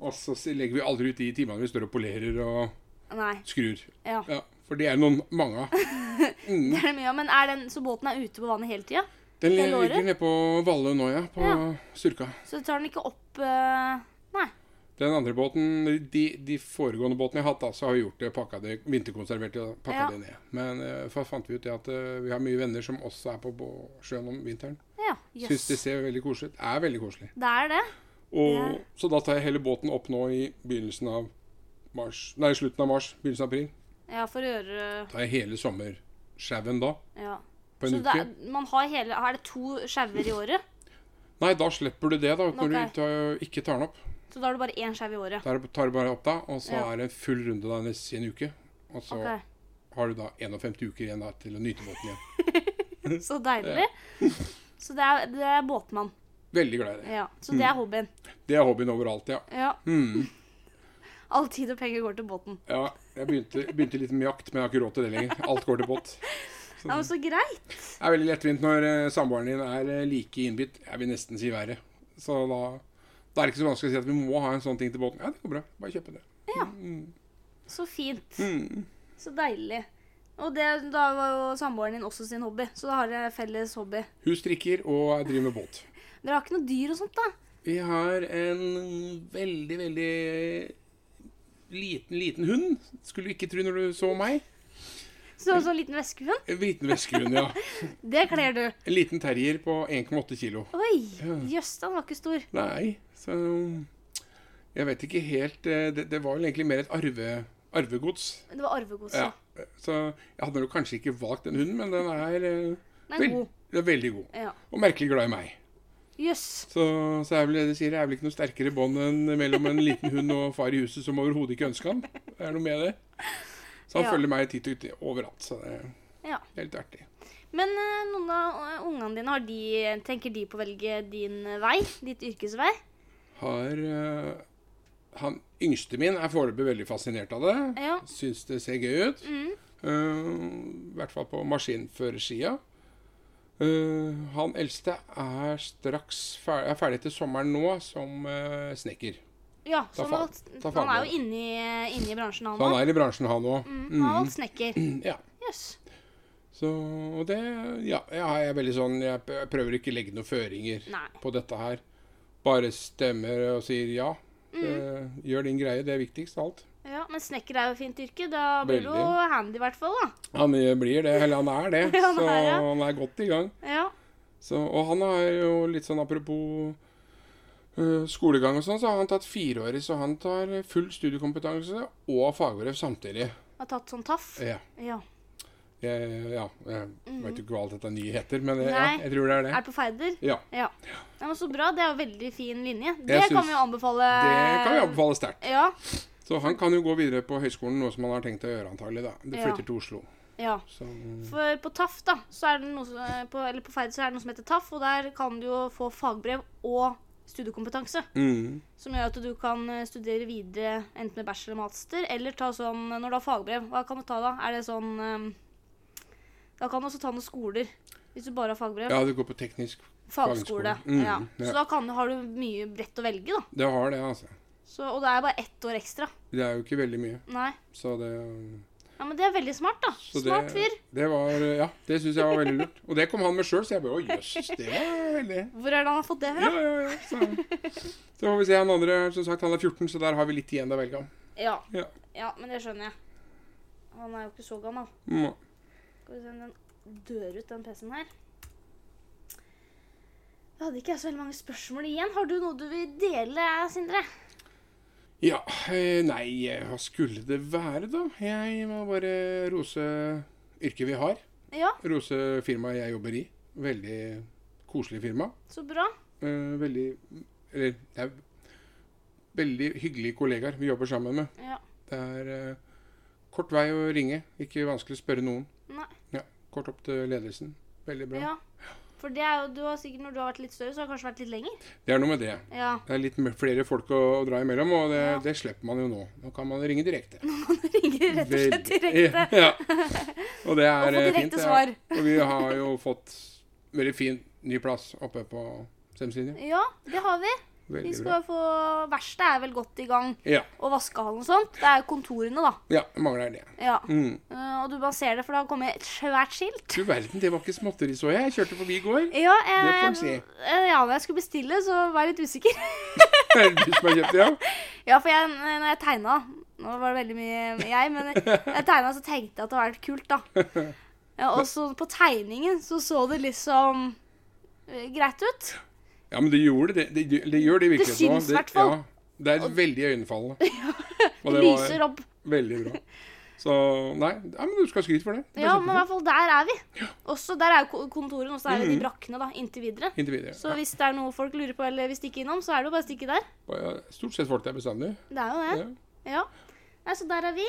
Speaker 2: Og så s- legger vi aldri ut de timene vi står og polerer og
Speaker 1: Nei.
Speaker 2: skrur.
Speaker 1: Ja.
Speaker 2: Ja, For det er noen mange av.
Speaker 1: Det er det mye av. Men er den, så båten er ute på vannet hele tida?
Speaker 2: Den
Speaker 1: Hele året?
Speaker 2: ligger nede på Vallø nå, ja. På
Speaker 1: Ja.
Speaker 2: Surka.
Speaker 1: Så tar den ikke opp eh, Nei.
Speaker 2: Den andre båten, de, de foregående båtene jeg har hatt, da, så har vi gjort det, pakka det, vinterkonservert det, og pakka
Speaker 1: Ja.
Speaker 2: det ned. Men eh, så fant vi ut det at eh, vi har mye venner som også er på bå- sjøen om vinteren.
Speaker 1: Ja,
Speaker 2: Syns
Speaker 1: jøss.
Speaker 2: det ser veldig koselig ut. Er veldig koselig.
Speaker 1: Det er det.
Speaker 2: Og,
Speaker 1: Det-
Speaker 2: Så da tar jeg hele båten opp nå i begynnelsen av mars. Nei, slutten av mars, begynnelsen av april.
Speaker 1: Ja, for å gjøre
Speaker 2: Tar jeg hele sommersjauen da,
Speaker 1: Ja.
Speaker 2: på
Speaker 1: Så
Speaker 2: en
Speaker 1: det
Speaker 2: uke.
Speaker 1: er, man har hele Er det to skjauer i året?
Speaker 2: Nei, da slipper du det, da, når du
Speaker 1: Ok.
Speaker 2: ikke- ikke tar den opp.
Speaker 1: Så da har du bare én skeiv i året.
Speaker 2: Da er det- tar du bare opp da, og så
Speaker 1: Ja.
Speaker 2: er det full runde da neste i en uke. Og så
Speaker 1: Ok,
Speaker 2: har du da 51 uker igjen da, til å nyte båten igjen.
Speaker 1: Så deilig. Så det er, det er båtmann.
Speaker 2: Veldig glad i det.
Speaker 1: Ja. Så det er hobbyen.
Speaker 2: Det er hobbyen overalt, ja.
Speaker 1: Ja.
Speaker 2: Mm.
Speaker 1: All tid og penger går til båten.
Speaker 2: ja jeg begynte, begynte litt med jakt, men jeg har ikke råd til det lenger. Alt går til båt.
Speaker 1: Ja, men Så greit.
Speaker 2: Det er veldig lettvint når eh, samboeren din er eh, like innbitt. Jeg vil nesten si verre. Så da, da er det ikke så vanskelig å si at vi må ha en sånn ting til båten. Ja, det går bra. Bare kjøpe det.
Speaker 1: Så fint.
Speaker 2: Mm.
Speaker 1: Så deilig. Og det, da var jo samboeren din også sin hobby, så da har dere felles hobby.
Speaker 2: Hun strikker og driver med båt.
Speaker 1: Dere har ikke noe dyr og sånt, da?
Speaker 2: Vi har en veldig, veldig liten, liten hund. Skulle du ikke tro når du så meg.
Speaker 1: Så Sånn liten veskehund?
Speaker 2: En liten veskehund, ja.
Speaker 1: Det kler du.
Speaker 2: En liten terrier på 1,8 kilo.
Speaker 1: Oi!
Speaker 2: Ja.
Speaker 1: Jøss, den var ikke stor.
Speaker 2: Nei, så Jeg vet ikke helt eh, Det, det var vel egentlig mer et arve, arvegods.
Speaker 1: Det var arvegods.
Speaker 2: Ja.
Speaker 1: Ja.
Speaker 2: Så jeg hadde nok kanskje ikke valgt den hunden, men den er, eh,
Speaker 1: Den er
Speaker 2: vel-
Speaker 1: god.
Speaker 2: Den er veldig god.
Speaker 1: Ja.
Speaker 2: Og merkelig glad i meg.
Speaker 1: Jøss.
Speaker 2: Så, så jeg, vil, jeg sier, jeg er vel ikke noe sterkere bånd enn mellom en liten hund og far i huset som overhodet ikke ønsker han. Det er noe med det. Så han
Speaker 1: Ja.
Speaker 2: følger meg titt og uti overalt. Så det
Speaker 1: Ja.
Speaker 2: er litt artig.
Speaker 1: Men eh, noen av eh, ungene dine, har de, tenker de på å velge din eh, vei? Ditt yrkesvei?
Speaker 2: Har eh, Han yngste min er foreløpig veldig fascinert av det.
Speaker 1: Ja.
Speaker 2: Syns det ser gøy ut.
Speaker 1: Mm.
Speaker 2: Eh, I hvert fall på maskinførersida. Eh, han eldste er straks fer er ferdig til sommeren nå som eh, snekker.
Speaker 1: Ja,
Speaker 2: Ta
Speaker 1: så han,
Speaker 2: fa-
Speaker 1: har valgt-
Speaker 2: ta
Speaker 1: han er
Speaker 2: fagbrev.
Speaker 1: jo inne i, inne i bransjen, han
Speaker 2: Så han
Speaker 1: òg.
Speaker 2: er i bransjen, han òg.
Speaker 1: Mm. Han har valgt snekker.
Speaker 2: Ja.
Speaker 1: Jøss.
Speaker 2: Så og det Ja, jeg er veldig sånn Jeg p- jeg prøver ikke å legge noen føringer
Speaker 1: Nei.
Speaker 2: på dette her. Bare stemmer og sier ja.
Speaker 1: Mm.
Speaker 2: Eh, gjør din greie, det er viktigst av alt.
Speaker 1: Ja, men snekker er jo et fint yrke. Da blir du
Speaker 2: Veldig.
Speaker 1: jo handy, i hvert fall. da.
Speaker 2: Han eh, blir det, eller han er det.
Speaker 1: Ja, han
Speaker 2: så
Speaker 1: er det.
Speaker 2: han er godt i gang.
Speaker 1: Ja.
Speaker 2: Så, og han har jo litt sånn apropos øh, skolegang og sånn, så har han tatt fireårig, så han tar full studiekompetanse og fagbrev samtidig.
Speaker 1: Har tatt sånn taff.
Speaker 2: Ja,
Speaker 1: Ja.
Speaker 2: jeg, ja, jeg vet jo ikke hva alt dette nye heter, men jeg, ja,
Speaker 1: Mm. Nei.
Speaker 2: jeg tror det
Speaker 1: Er
Speaker 2: er det.
Speaker 1: det på Feider?
Speaker 2: Ja,
Speaker 1: Ja. ja. men Så bra. Det er jo veldig fin linje. Det
Speaker 2: syns-
Speaker 1: kan vi jo anbefale.
Speaker 2: det kan vi anbefale sterkt.
Speaker 1: Ja.
Speaker 2: Så han kan jo gå videre på høyskolen, noe som han har tenkt å gjøre antagelig da. Det
Speaker 1: Ja.
Speaker 2: flytter til Oslo.
Speaker 1: ja.
Speaker 2: Så,
Speaker 1: For på TAF, da, så er det noe som, eh, på, eller på Feider så er det noe som heter TAF, og der kan du jo få fagbrev og studiekompetanse.
Speaker 2: mm,
Speaker 1: Som gjør at du kan eh, studere videre enten med bachelor eller master, eller ta sånn eh, når du har fagbrev. Hva kan du ta da? Er det sånn eh, Da kan du også ta noen skoler. Hvis du bare har fagbrev.
Speaker 2: ja, det går på teknisk.
Speaker 1: Fagskole.
Speaker 2: fagskole. Mm,
Speaker 1: ja.
Speaker 2: ja.
Speaker 1: Så da kan, du- har du mye bredt å velge, da.
Speaker 2: Det har det, altså.
Speaker 1: Så, og det er bare ett år ekstra.
Speaker 2: Det er jo ikke veldig mye,
Speaker 1: Nei.
Speaker 2: så det...
Speaker 1: Ja, Men det er veldig smart, da.
Speaker 2: Så
Speaker 1: smart
Speaker 2: det,
Speaker 1: fyr.
Speaker 2: Det var, eh, ja, det syns jeg var veldig lurt. Og det kom han med sjøl, så jeg bare Å, jøss, det var veldig
Speaker 1: Hvor er det han har fått det
Speaker 2: Ja,
Speaker 1: fra?
Speaker 2: ja, ja. Så, så får vi se. Han andre som sagt, han er 14, så der har vi litt igjen å velge av.
Speaker 1: Ja.
Speaker 2: Ja.
Speaker 1: ja, men det skjønner jeg. Han er jo ikke så gammel.
Speaker 2: Mm.
Speaker 1: Skal vi se om den dør ut, den PC-en her. Da hadde ikke jeg så veldig mange spørsmål igjen. Har du noe du vil dele, Sindre?
Speaker 2: Ja, eh, nei, eh, hva skulle det være, da? Jeg må bare rose yrket vi har.
Speaker 1: Ja,
Speaker 2: Rose firmaet jeg jobber i. Veldig koselig firma.
Speaker 1: så bra.
Speaker 2: Eh, Veldig Eller det er veldig hyggelige kollegaer vi jobber sammen med.
Speaker 1: Ja.
Speaker 2: Det er eh, kort vei å ringe. Ikke vanskelig å spørre noen.
Speaker 1: Nei.
Speaker 2: Ja, Kort opp til ledelsen. Veldig bra.
Speaker 1: Ja. For det er jo, du har sikkert, når du har vært litt større, så har det kanskje vært litt lenger.
Speaker 2: Det er noe med det.
Speaker 1: Ja.
Speaker 2: Det er litt mer- flere folk å, å dra imellom, og det,
Speaker 1: Ja.
Speaker 2: det slipper man jo nå. Nå kan man ringe direkte.
Speaker 1: ringer rett og slett
Speaker 2: Veldig-
Speaker 1: direkte.
Speaker 2: Ja. Og det er
Speaker 1: Og få
Speaker 2: eh,
Speaker 1: direkte
Speaker 2: fint. det er-
Speaker 1: svar.
Speaker 2: Og vi har jo fått veldig fin ny plass oppe på Semslinja.
Speaker 1: Ja, det har vi. Vi
Speaker 2: Veldig bra.
Speaker 1: skal få Verkstedet er vel godt i gang.
Speaker 2: Ja.
Speaker 1: Og vaskehallen og sånt. Det er jo kontorene, da.
Speaker 2: ja mangler det.
Speaker 1: Ja.
Speaker 2: Mm.
Speaker 1: Eh, Og du bare ser det, for det har kommet et svært skilt.
Speaker 2: Du verden, det var ikke småtteri, så jeg. Jeg kjørte forbi i går.
Speaker 1: Ja, jeg,
Speaker 2: Det får en si.
Speaker 1: eh, ja, når jeg skulle bestille, så var jeg litt usikker.
Speaker 2: Er det du som har kjøpt det, ja?
Speaker 1: Ja, for jeg, eh, når jeg tegna Nå var det veldig mye jeg, men når jeg tegna, så tenkte jeg at det var litt kult, da. Ja, og så på tegningen så så det liksom eh, greit ut.
Speaker 2: Ja, men det gjorde det. Det, det, det gjør det
Speaker 1: Det
Speaker 2: i virkeligheten
Speaker 1: syns hvertfall.
Speaker 2: Ja, det er veldig iøynefallende. Og
Speaker 1: Det lyser opp.
Speaker 2: Veldig bra. Så nei, ja, men du skal ha skryt for det. det. ble
Speaker 1: Ja, men i
Speaker 2: kjempefint.
Speaker 1: hvert fall der er vi. Også Der er jo ko- kontorene, og så er jo
Speaker 2: Mm.
Speaker 1: de brakkene, da, inntil videre.
Speaker 2: Inntil videre.
Speaker 1: Så hvis det er noe folk lurer på eller vil stikke innom, så er det jo bare å stikke der.
Speaker 2: Ja. Stort sett folk der bestandig.
Speaker 1: Det er jo det.
Speaker 2: Ja.
Speaker 1: Ja. Nei, så der er vi.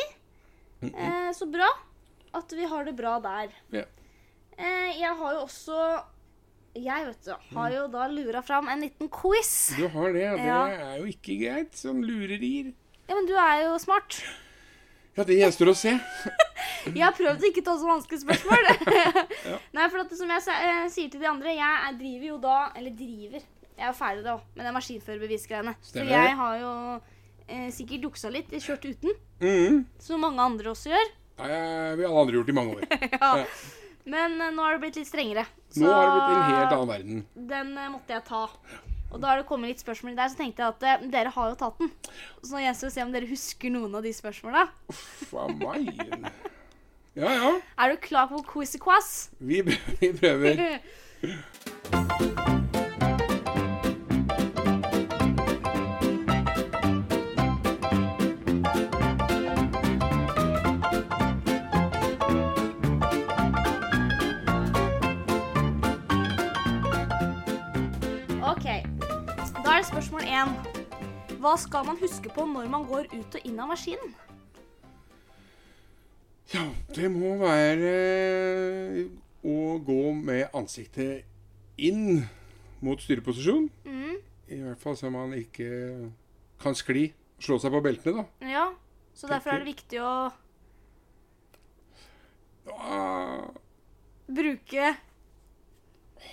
Speaker 1: Eh, så bra at vi har det bra der.
Speaker 2: Ja.
Speaker 1: Eh, jeg har jo også Jeg vet du,
Speaker 2: Mm.
Speaker 1: har jo da lura fram en liten quiz.
Speaker 2: Du har det, og det
Speaker 1: Ja.
Speaker 2: er jo ikke greit. Sånn lurerier.
Speaker 1: Ja, men du er jo smart.
Speaker 2: Ja, det gjenstår å se.
Speaker 1: Jeg har prøvd å ikke ta så vanskelige spørsmål. Nei, for at, som jeg sa- eh, sier til de andre, jeg er- driver jo da Eller driver. Jeg er jo ferdig da òg, med det maskinførerbevisgreiene. Så
Speaker 2: Stemmer.
Speaker 1: jeg har jo eh, sikkert juksa litt. Kjørt uten.
Speaker 2: Mhm.
Speaker 1: Som mange andre også gjør.
Speaker 2: Det har vi alle andre gjort i mange år.
Speaker 1: Ja. Men eh, nå har det blitt litt strengere.
Speaker 2: Nå har det blitt en helt annen verden.
Speaker 1: Den eh, måtte jeg ta. Og da har det kommet litt spørsmål der, så tenkte jeg at eh, dere har jo tatt den. Så nå gjenstår det å se om dere husker noen av de spørsmåla.
Speaker 2: Uff a meg. Ja, ja.
Speaker 1: Er du klar for quiz-quaz?
Speaker 2: Vi, prø- vi prøver.
Speaker 1: OK. Da er det spørsmål én. Hva skal man huske på når man går ut og inn av maskinen?
Speaker 2: Ja, det må være å gå med ansiktet inn mot styreposisjon.
Speaker 1: Mm,
Speaker 2: I hvert fall så man ikke kan skli. Slå seg på beltene, da.
Speaker 1: ja. Så derfor er det viktig å
Speaker 2: Ah,
Speaker 1: bruke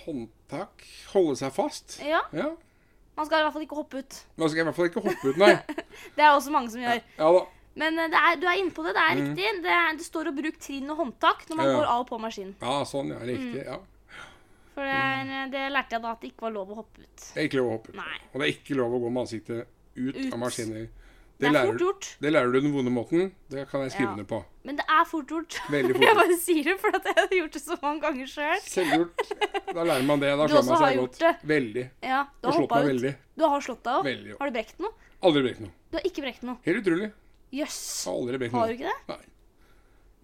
Speaker 2: Håndtak. Holde seg fast.
Speaker 1: Ja.
Speaker 2: Ja.
Speaker 1: Man skal i hvert fall ikke hoppe ut.
Speaker 2: Nå skal jeg i hvert fall ikke hoppe ut, nei.
Speaker 1: Det er det også mange som gjør.
Speaker 2: Ja da.
Speaker 1: Men eh, det er, du er inne på det. Det er riktig. Det, er, det står å bruke trinn og håndtak når man
Speaker 2: Ja, ja.
Speaker 1: går av og på maskinen.
Speaker 2: Ja, sånn, ja.
Speaker 1: Mm.
Speaker 2: Riktig. ja.
Speaker 1: For det, er, eh, det lærte jeg da at det ikke var lov å hoppe ut.
Speaker 2: Det er ikke lov å hoppe ut.
Speaker 1: Nei.
Speaker 2: Og Mm. det er ikke lov å gå med ansiktet ut,
Speaker 1: Ut.
Speaker 2: av maskiner.
Speaker 1: Det er
Speaker 2: lærer,
Speaker 1: fort gjort.
Speaker 2: det lærer du den vonde måten. Det kan jeg skrive
Speaker 1: Ja.
Speaker 2: under på.
Speaker 1: Men det er fort gjort.
Speaker 2: Veldig fort
Speaker 1: Jeg
Speaker 2: gjort.
Speaker 1: bare sier det, for at jeg har gjort det så mange ganger sjøl.
Speaker 2: Selvgjort. Da lærer man det. Da
Speaker 1: Du
Speaker 2: slår
Speaker 1: også
Speaker 2: man
Speaker 1: har
Speaker 2: seg
Speaker 1: gjort
Speaker 2: godt.
Speaker 1: det.
Speaker 2: Veldig.
Speaker 1: Ja, du har
Speaker 2: Og slått
Speaker 1: hoppa
Speaker 2: meg
Speaker 1: ut.
Speaker 2: veldig.
Speaker 1: Du har slått deg òg.
Speaker 2: Veldig.
Speaker 1: Har du brekt noe?
Speaker 2: Aldri brekt noe.
Speaker 1: Du har ikke brekt noe.
Speaker 2: Helt utrolig.
Speaker 1: Jøss.
Speaker 2: Har Aldri brekt noe.
Speaker 1: Har du ikke det?
Speaker 2: Nei.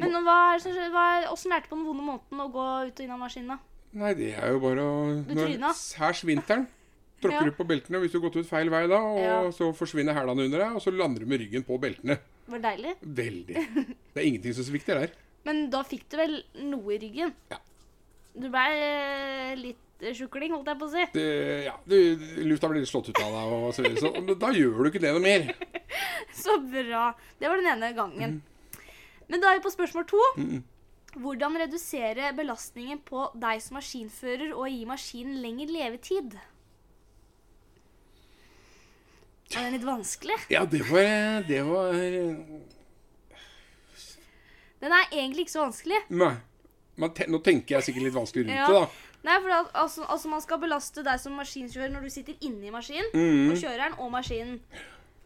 Speaker 1: Men nå, hva er det som skjer? Hva er- Åssen lærte du på den vonde måten å gå ut og inn av maskinen? da?
Speaker 2: Nei, det er jo bare å
Speaker 1: Du
Speaker 2: når
Speaker 1: tryna.
Speaker 2: Særs vinteren. Tråkker
Speaker 1: Ja.
Speaker 2: du på beltene hvis du har gått ut feil vei da, og
Speaker 1: Ja.
Speaker 2: så forsvinner hælene under deg, og så lander du med ryggen på beltene.
Speaker 1: Var det deilig?
Speaker 2: Veldig. Det er ingenting som svikter der.
Speaker 1: Men da fikk du vel noe i ryggen?
Speaker 2: Ja.
Speaker 1: Du blei eh, litt eh, sjukling, holdt jeg på å si.
Speaker 2: Det, ja, du, lufta blir slått ut av deg, og så videre. Så, men da gjør du ikke det noe mer.
Speaker 1: Så bra. Det var den ene gangen. Men da er vi på spørsmål to. Hvordan redusere belastningen på deg som maskinfører og gi maskinen lengre levetid? Er den litt vanskelig?
Speaker 2: Ja, det var, det var
Speaker 1: Den er egentlig ikke så vanskelig.
Speaker 2: Nei. Man te, nå tenker jeg sikkert litt vanskelig rundt
Speaker 1: Ja.
Speaker 2: det, da.
Speaker 1: Nei, for al- altså, altså Man skal belaste deg som maskinfører når du sitter inni maskinen,
Speaker 2: Mhm.
Speaker 1: og kjøreren og maskinen.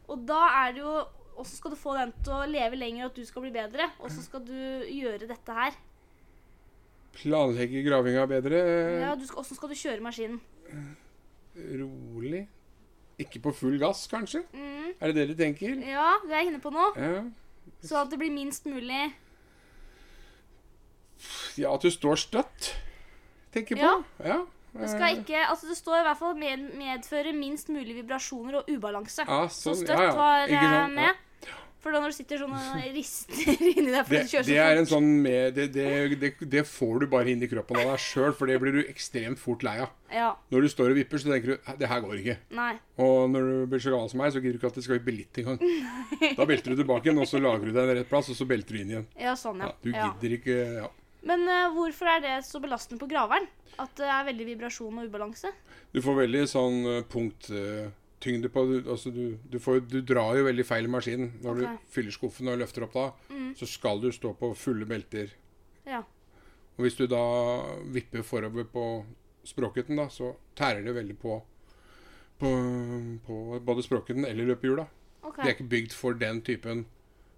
Speaker 1: Og da er det jo Hvordan skal du få den til å leve lenger, og at du skal bli bedre? Hvordan skal du gjøre dette her?
Speaker 2: Planlegge gravinga bedre.
Speaker 1: Ja, du skal, Hvordan skal du kjøre maskinen?
Speaker 2: Rolig. Ikke på full gass, kanskje?
Speaker 1: Mm.
Speaker 2: Er det det du tenker?
Speaker 1: Ja, det er jeg inne på nå.
Speaker 2: Ja.
Speaker 1: Sånn at det blir minst mulig
Speaker 2: Ja, at du står støtt, tenker jeg
Speaker 1: Ja.
Speaker 2: på. Ja.
Speaker 1: Det skal
Speaker 2: Mm.
Speaker 1: ikke, altså det står i hvert fall med, medføre minst mulig vibrasjoner og ubalanse.
Speaker 2: Ja,
Speaker 1: Så
Speaker 2: sånn,
Speaker 1: støtt
Speaker 2: ja, ja.
Speaker 1: var
Speaker 2: Ikke
Speaker 1: eh,
Speaker 2: sant? Ja.
Speaker 1: med. For da når du sitter sånn og rister inni deg fordi
Speaker 2: Det,
Speaker 1: du kjører
Speaker 2: det
Speaker 1: så
Speaker 2: er
Speaker 1: fort
Speaker 2: en sånn med, det, det, det, det får du bare inn i kroppen av deg sjøl, for det blir du ekstremt fort lei av.
Speaker 1: Ja,
Speaker 2: Når du står og vipper, så tenker du "Hæ, det her går ikke.
Speaker 1: nei.
Speaker 2: Og når du blir så gammel som meg, så gidder du ikke at det skal vippe litt engang. Da belter du tilbake igjen, og så lager du deg en rett plass, og så belter du inn igjen.
Speaker 1: Ja, sånn,
Speaker 2: Ja,
Speaker 1: ja.
Speaker 2: du
Speaker 1: ja.
Speaker 2: gidder ikke ja.
Speaker 1: Men eh, hvorfor er det så belastende på graveren? At det er veldig vibrasjon og ubalanse?
Speaker 2: Du får veldig sånn eh, punkttyngde på du, altså du, du, får, du drar jo veldig feil i maskinen. Når
Speaker 1: Ok. Mm.
Speaker 2: du fyller skuffen og løfter opp da, så skal du stå på fulle belter.
Speaker 1: Ja.
Speaker 2: Og hvis du da vipper forover på språkhytten, da, så tærer det veldig på, på, på både språkhytten eller løpehjula.
Speaker 1: OK.
Speaker 2: De er ikke bygd for den typen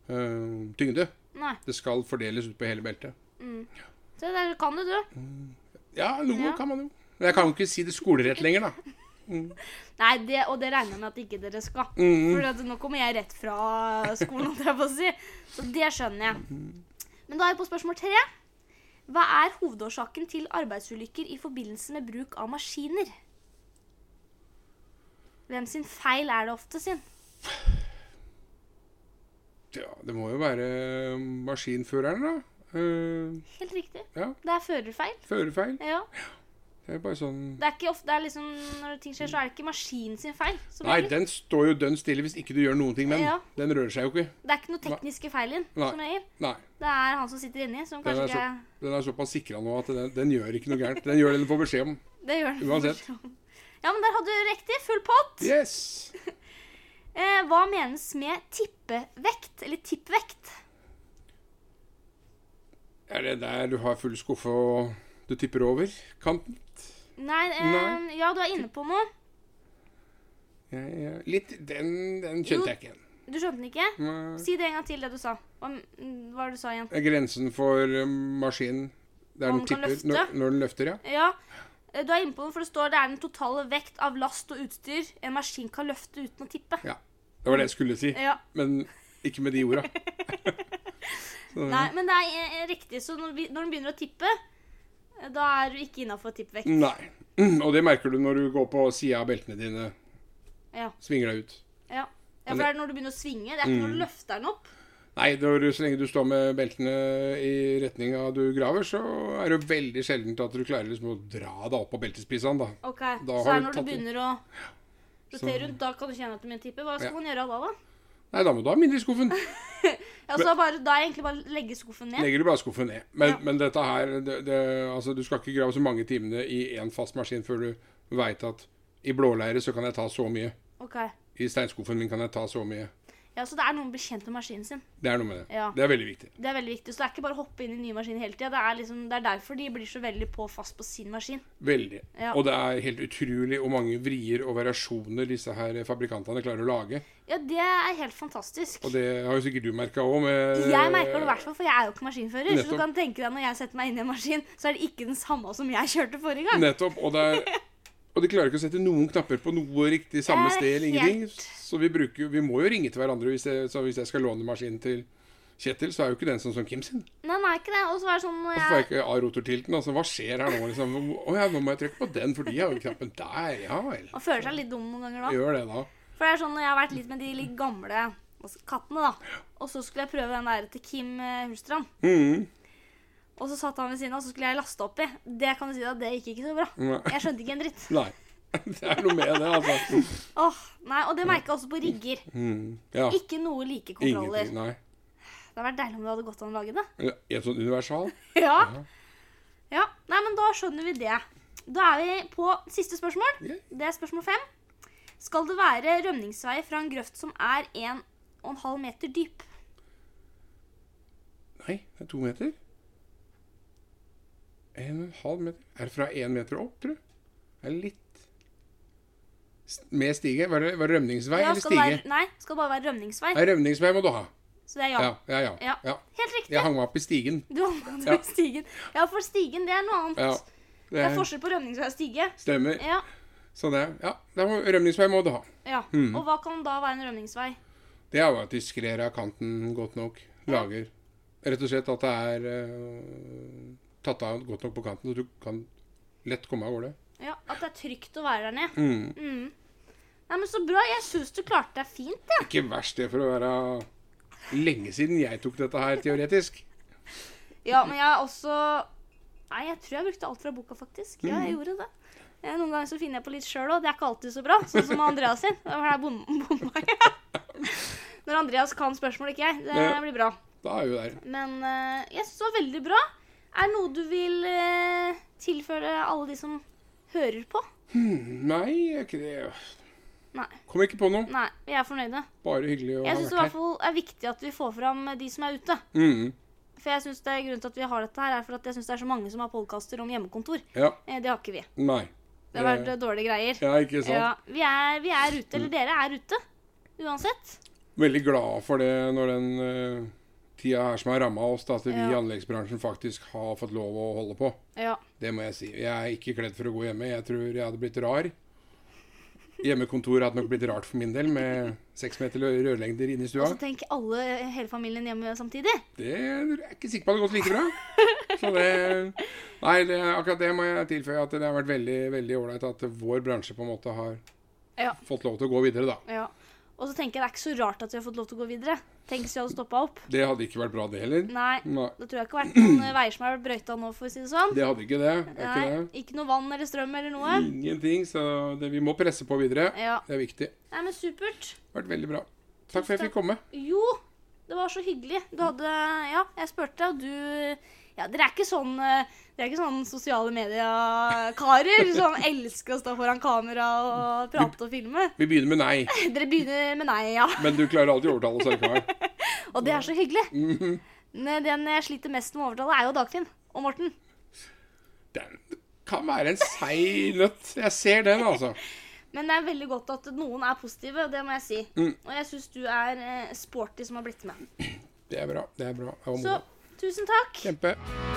Speaker 2: eh, tyngde.
Speaker 1: Nei.
Speaker 2: Det skal fordeles ut på hele beltet.
Speaker 1: Se, der kan du, du.
Speaker 2: Ja, noe
Speaker 1: Ja.
Speaker 2: kan man jo. Men jeg kan jo ikke si det skolerett lenger, da.
Speaker 1: Nei, det, og det regner jeg med at ikke dere skal.
Speaker 2: Mhm.
Speaker 1: For at nå kommer jeg rett fra skolen, holdt jeg på å si. Så det skjønner jeg. Men da er vi på spørsmål tre. Hva er hovedårsaken til arbeidsulykker i forbindelse med bruk av maskiner? Hvem sin feil er det ofte sin?
Speaker 2: Ja, det må jo være maskinføreren, da. Eh,
Speaker 1: Helt riktig.
Speaker 2: ja,
Speaker 1: Det er førerfeil.
Speaker 2: førerfeil.
Speaker 1: Ja.
Speaker 2: Det er bare sånn
Speaker 1: Det er ikke ofte, det er liksom, når ting skjer, så er det ikke maskinen sin feil. som
Speaker 2: Nei,
Speaker 1: regel.
Speaker 2: den står jo dønn stille hvis ikke du gjør noen ting med den.
Speaker 1: Ja.
Speaker 2: Den rører seg jo ikke.
Speaker 1: Det er ikke noe tekniske feil i den.
Speaker 2: Nei.
Speaker 1: som regel.
Speaker 2: Nei.
Speaker 1: Det er han som sitter inni, som
Speaker 2: Den
Speaker 1: kanskje
Speaker 2: er, så,
Speaker 1: ikke
Speaker 2: den er såpass sikra nå at den, den gjør ikke noe gærent. Den gjør det den får beskjed om.
Speaker 1: Det gjør han.
Speaker 2: Uansett.
Speaker 1: Ja, men der hadde du riktig. Full pott.
Speaker 2: Yes!
Speaker 1: Eh, hva menes med tippevekt, eller tippvekt?
Speaker 2: Er det der du har full skuffe og du tipper over kanten?
Speaker 1: Nei, eh,
Speaker 2: Nei.
Speaker 1: ja, du er inne på noe.
Speaker 2: Ja, ja. Litt Den, den
Speaker 1: Jo.
Speaker 2: skjønte jeg ikke igjen.
Speaker 1: Du skjønte den ikke?
Speaker 2: Nei.
Speaker 1: Si det en gang til, det du sa. Hva, mm, hva var det du sa igjen?
Speaker 2: Det er Grensen for eh, maskinen der
Speaker 1: Om
Speaker 2: den
Speaker 1: den kan
Speaker 2: tipper
Speaker 1: løfte?
Speaker 2: når, når den løfter, ja.
Speaker 1: Ja, eh, du er inne på noe, for det står det er den totale vekt av last og utstyr en maskin kan løfte uten å tippe.
Speaker 2: ja. Det var det jeg skulle si,
Speaker 1: Ja.
Speaker 2: men ikke med de orda.
Speaker 1: Nei,
Speaker 2: Mm.
Speaker 1: men det er eh, riktig, så når, vi, når den begynner å tippe, eh, da er du ikke innafor tippvekt.
Speaker 2: Nei. Mm, Og det merker du når du går på sida av beltene dine.
Speaker 1: Ja.
Speaker 2: Svinger deg ut.
Speaker 1: Ja. ja, for det er når du begynner å svinge. Det er ikke når
Speaker 2: Mm.
Speaker 1: du løfter den opp.
Speaker 2: Nei, når, så lenge du står med beltene i retninga du graver, så er det jo veldig sjeldent at du klarer liksom å dra deg opp på beltespissene, da.
Speaker 1: Ok,
Speaker 2: Da
Speaker 1: Så
Speaker 2: har
Speaker 1: er
Speaker 2: du
Speaker 1: når du
Speaker 2: tatt den.
Speaker 1: begynner å rotere
Speaker 2: Så-
Speaker 1: rundt, da kan du kjenne at du begynner å tippe. Hva skal
Speaker 2: Ja.
Speaker 1: man gjøre da, da?
Speaker 2: Nei, da må du ha mindre i skuffen.
Speaker 1: Ja, så bare, da er egentlig bare å legge skuffen ned.
Speaker 2: Legger du bare skuffen ned. Men,
Speaker 1: Ja.
Speaker 2: men dette her det, det, Altså, du skal ikke grave så mange timene i én fast maskin før du veit at i blåleire så kan jeg ta så mye.
Speaker 1: Ok.
Speaker 2: I steinskuffen min kan jeg ta så mye.
Speaker 1: Ja, Så det er noen bekjent med maskinen sin.
Speaker 2: Det er noe med det.
Speaker 1: Ja.
Speaker 2: Det er veldig viktig.
Speaker 1: Det er veldig viktig. Så det er ikke bare å hoppe inn i nye maskiner hele tida. Det, er liksom, det er derfor de blir så veldig på fast på sin maskin.
Speaker 2: Veldig.
Speaker 1: Ja.
Speaker 2: Og det er helt utrolig hvor mange vrier og variasjoner disse her fabrikantene klarer å lage.
Speaker 1: Ja, det er helt fantastisk.
Speaker 2: Og det har jo sikkert du merka òg.
Speaker 1: Jeg merker det i hvert fall, for jeg er jo ikke maskinfører. Så
Speaker 2: nettopp.
Speaker 1: du kan tenke deg når jeg setter meg inn i en maskin, så er det ikke den samme som jeg kjørte forrige gang.
Speaker 2: Nettopp. Og, det er, og de klarer ikke å sette noen knapper på noe riktig samme
Speaker 1: Det er
Speaker 2: sted eller ingenting.
Speaker 1: helt-
Speaker 2: Så vi, bruker, jo- vi må jo ringe til hverandre. Hvis jeg, så hvis jeg skal låne maskinen til Kjetil, så er jo ikke den sånn som Kim sin.
Speaker 1: Nei, den er ikke det. Og så er det sånn når
Speaker 2: Så får
Speaker 1: jeg
Speaker 2: jeg ikke A-rotortilten. Altså, hva skjer her nå? Liksom? Å ja, nå må jeg trykke på den, for de har jo knappen der. Ja vel.
Speaker 1: Man føler seg litt dum noen ganger da.
Speaker 2: Gjør det, da.
Speaker 1: For det er sånn når jeg har vært litt med de litt gamle hva skal- kattene, da. Og så skulle jeg prøve den der til Kim eh, Hulstrand.
Speaker 2: Mhm.
Speaker 1: Og så satt han ved siden av, og så skulle jeg laste oppi. Det kan du si at det gikk ikke så bra.
Speaker 2: Nei.
Speaker 1: Jeg skjønte ikke en dritt.
Speaker 2: Nei. Det er noe med det, altså.
Speaker 1: Åh, nei, Og det merka jeg også på rigger.
Speaker 2: Mhm. Ja.
Speaker 1: Ikke noe like kontroller.
Speaker 2: Ingenting. Nei.
Speaker 1: Det hadde vært deilig om det hadde gått an å lage det.
Speaker 2: Eller, En sånn universal?
Speaker 1: Ja. ja. Nei, men da skjønner vi det. Da er vi på siste spørsmål.
Speaker 2: Ja.
Speaker 1: Det er spørsmål fem. Skal det være rømningsvei fra en grøft som er 1,5 meter dyp?
Speaker 2: Nei, det er to meter. En og en halv meter. Er det fra én meter opp, tror du? Er det litt S- Med stige? Var det, var det rømningsvei
Speaker 1: Ja,
Speaker 2: eller
Speaker 1: skal det
Speaker 2: stige?
Speaker 1: være, nei, skal det bare være rømningsvei.
Speaker 2: Nei, rømningsvei må du ha.
Speaker 1: Så det er ja.
Speaker 2: Ja, ja, ja.
Speaker 1: Ja.
Speaker 2: ja.
Speaker 1: Helt riktig.
Speaker 2: Jeg hang meg opp i stigen.
Speaker 1: Du omgått
Speaker 2: Ja.
Speaker 1: med stigen. Ja, for stigen, det er noe annet.
Speaker 2: Ja.
Speaker 1: Det
Speaker 2: Det
Speaker 1: er forskjell på rømningsvei og stige.
Speaker 2: stemmer.
Speaker 1: Ja.
Speaker 2: Så det Ja, det må, rømningsvei må du ha.
Speaker 1: ja.
Speaker 2: Hmm.
Speaker 1: Og hva kan da være en rømningsvei?
Speaker 2: Det er jo at de skrer av kanten godt nok. Lager Rett og slett at det er eh, tatt av godt nok på kanten, så du kan lett komme av gårde.
Speaker 1: Ja, At det er trygt å være der nede.
Speaker 2: Mm.
Speaker 1: Nei, men Så bra. Jeg syns du klarte deg fint. Ja.
Speaker 2: Ikke verst det for å være lenge siden jeg tok dette her teoretisk.
Speaker 1: ja, men jeg er også Nei, jeg tror jeg brukte alt fra boka, faktisk. Ja, jeg gjorde det. Eh, Noen ganger så finner jeg på litt sjøl òg. Det er ikke alltid så bra. Sånn som Andreas sin. Det var der bom- bomma jeg. Når Andreas kan spørsmål, ikke jeg. Det
Speaker 2: Ja.
Speaker 1: blir bra.
Speaker 2: Da er vi jo der.
Speaker 1: Men eh, jeg syns det var veldig bra. Er det noe du vil eh, tilføre alle de som hører på?
Speaker 2: Nei, jeg ikke det.
Speaker 1: Nei.
Speaker 2: Kom ikke på noe.
Speaker 1: Nei, vi er fornøyde.
Speaker 2: Bare hyggelig å ha
Speaker 1: Jeg syns det i hvert
Speaker 2: vært her.
Speaker 1: fall er viktig at vi får fram de som er ute.
Speaker 2: Mm,
Speaker 1: For jeg synes det er Grunnen til at vi har dette, her er for at jeg syns det er så mange som har podkaster om hjemmekontor.
Speaker 2: ja.
Speaker 1: Eh, Det har ikke vi.
Speaker 2: Nei.
Speaker 1: Det har vært eh, dårlige greier.
Speaker 2: Ja, ikke sant.
Speaker 1: Ja, vi, er, vi er ute. Eller dere er ute. Uansett.
Speaker 2: Veldig glad for det når den eh, tida her som har ramma oss, da, at vi i
Speaker 1: Ja.
Speaker 2: anleggsbransjen faktisk har fått lov å holde på.
Speaker 1: Ja.
Speaker 2: Det må jeg si. Jeg er ikke kledd for å gå hjemme. Jeg tror jeg hadde blitt rar. Hjemmekontoret hadde nok blitt rart for min del, med seks meter lø- rørlengder inne
Speaker 1: Og
Speaker 2: i stua.
Speaker 1: så tenk alle, hele familien hjemme samtidig.
Speaker 2: Det er jeg ikke sikker på hadde gått like bra. Så det Nei, det, akkurat det må jeg tilføye at det har vært veldig veldig ålreit at vår bransje på en måte har
Speaker 1: Ja.
Speaker 2: fått lov til å gå videre, da.
Speaker 1: Ja. Og så tenker jeg det er ikke så rart at vi har fått lov til å gå videre. Tenk hvis vi hadde stoppa opp.
Speaker 2: Det hadde ikke vært bra, det heller.
Speaker 1: Nei.
Speaker 2: Nei.
Speaker 1: Det tror jeg ikke har vært noen eh, veier som har vært brøyta nå, for å si det sånn.
Speaker 2: Det hadde ikke det. Det er
Speaker 1: Nei,
Speaker 2: ikke det. Mm.
Speaker 1: ikke noe vann eller strøm eller noe.
Speaker 2: Ingenting, så det, vi må presse på videre.
Speaker 1: Ja.
Speaker 2: Det er viktig. Det
Speaker 1: Nei, men supert.
Speaker 2: har vært veldig bra. Takk for at jeg fikk komme.
Speaker 1: Jo, det var så hyggelig. Du hadde Ja, jeg spurte, og du ja, Dere er ikke sånn eh, Dere er ikke sånn sosiale mediekarer som elsker å stå foran kamera og prate og filme.
Speaker 2: Vi begynner med nei,
Speaker 1: Dere begynner med nei, ja.
Speaker 2: men du klarer alltid å overtale oss likevel.
Speaker 1: Og det er så hyggelig.
Speaker 2: Mhm.
Speaker 1: Men Den jeg sliter mest med å overtale, er jo Dagfinn og Morten.
Speaker 2: Den kan være en seig nøtt. Jeg ser den, altså.
Speaker 1: Men det er veldig godt at noen er positive, det må jeg si.
Speaker 2: Mm.
Speaker 1: Og jeg syns du er eh, sporty som har blitt med.
Speaker 2: Det er bra. Det er bra. Det var
Speaker 1: Så
Speaker 2: moro.
Speaker 1: tusen takk.
Speaker 2: Kjempe.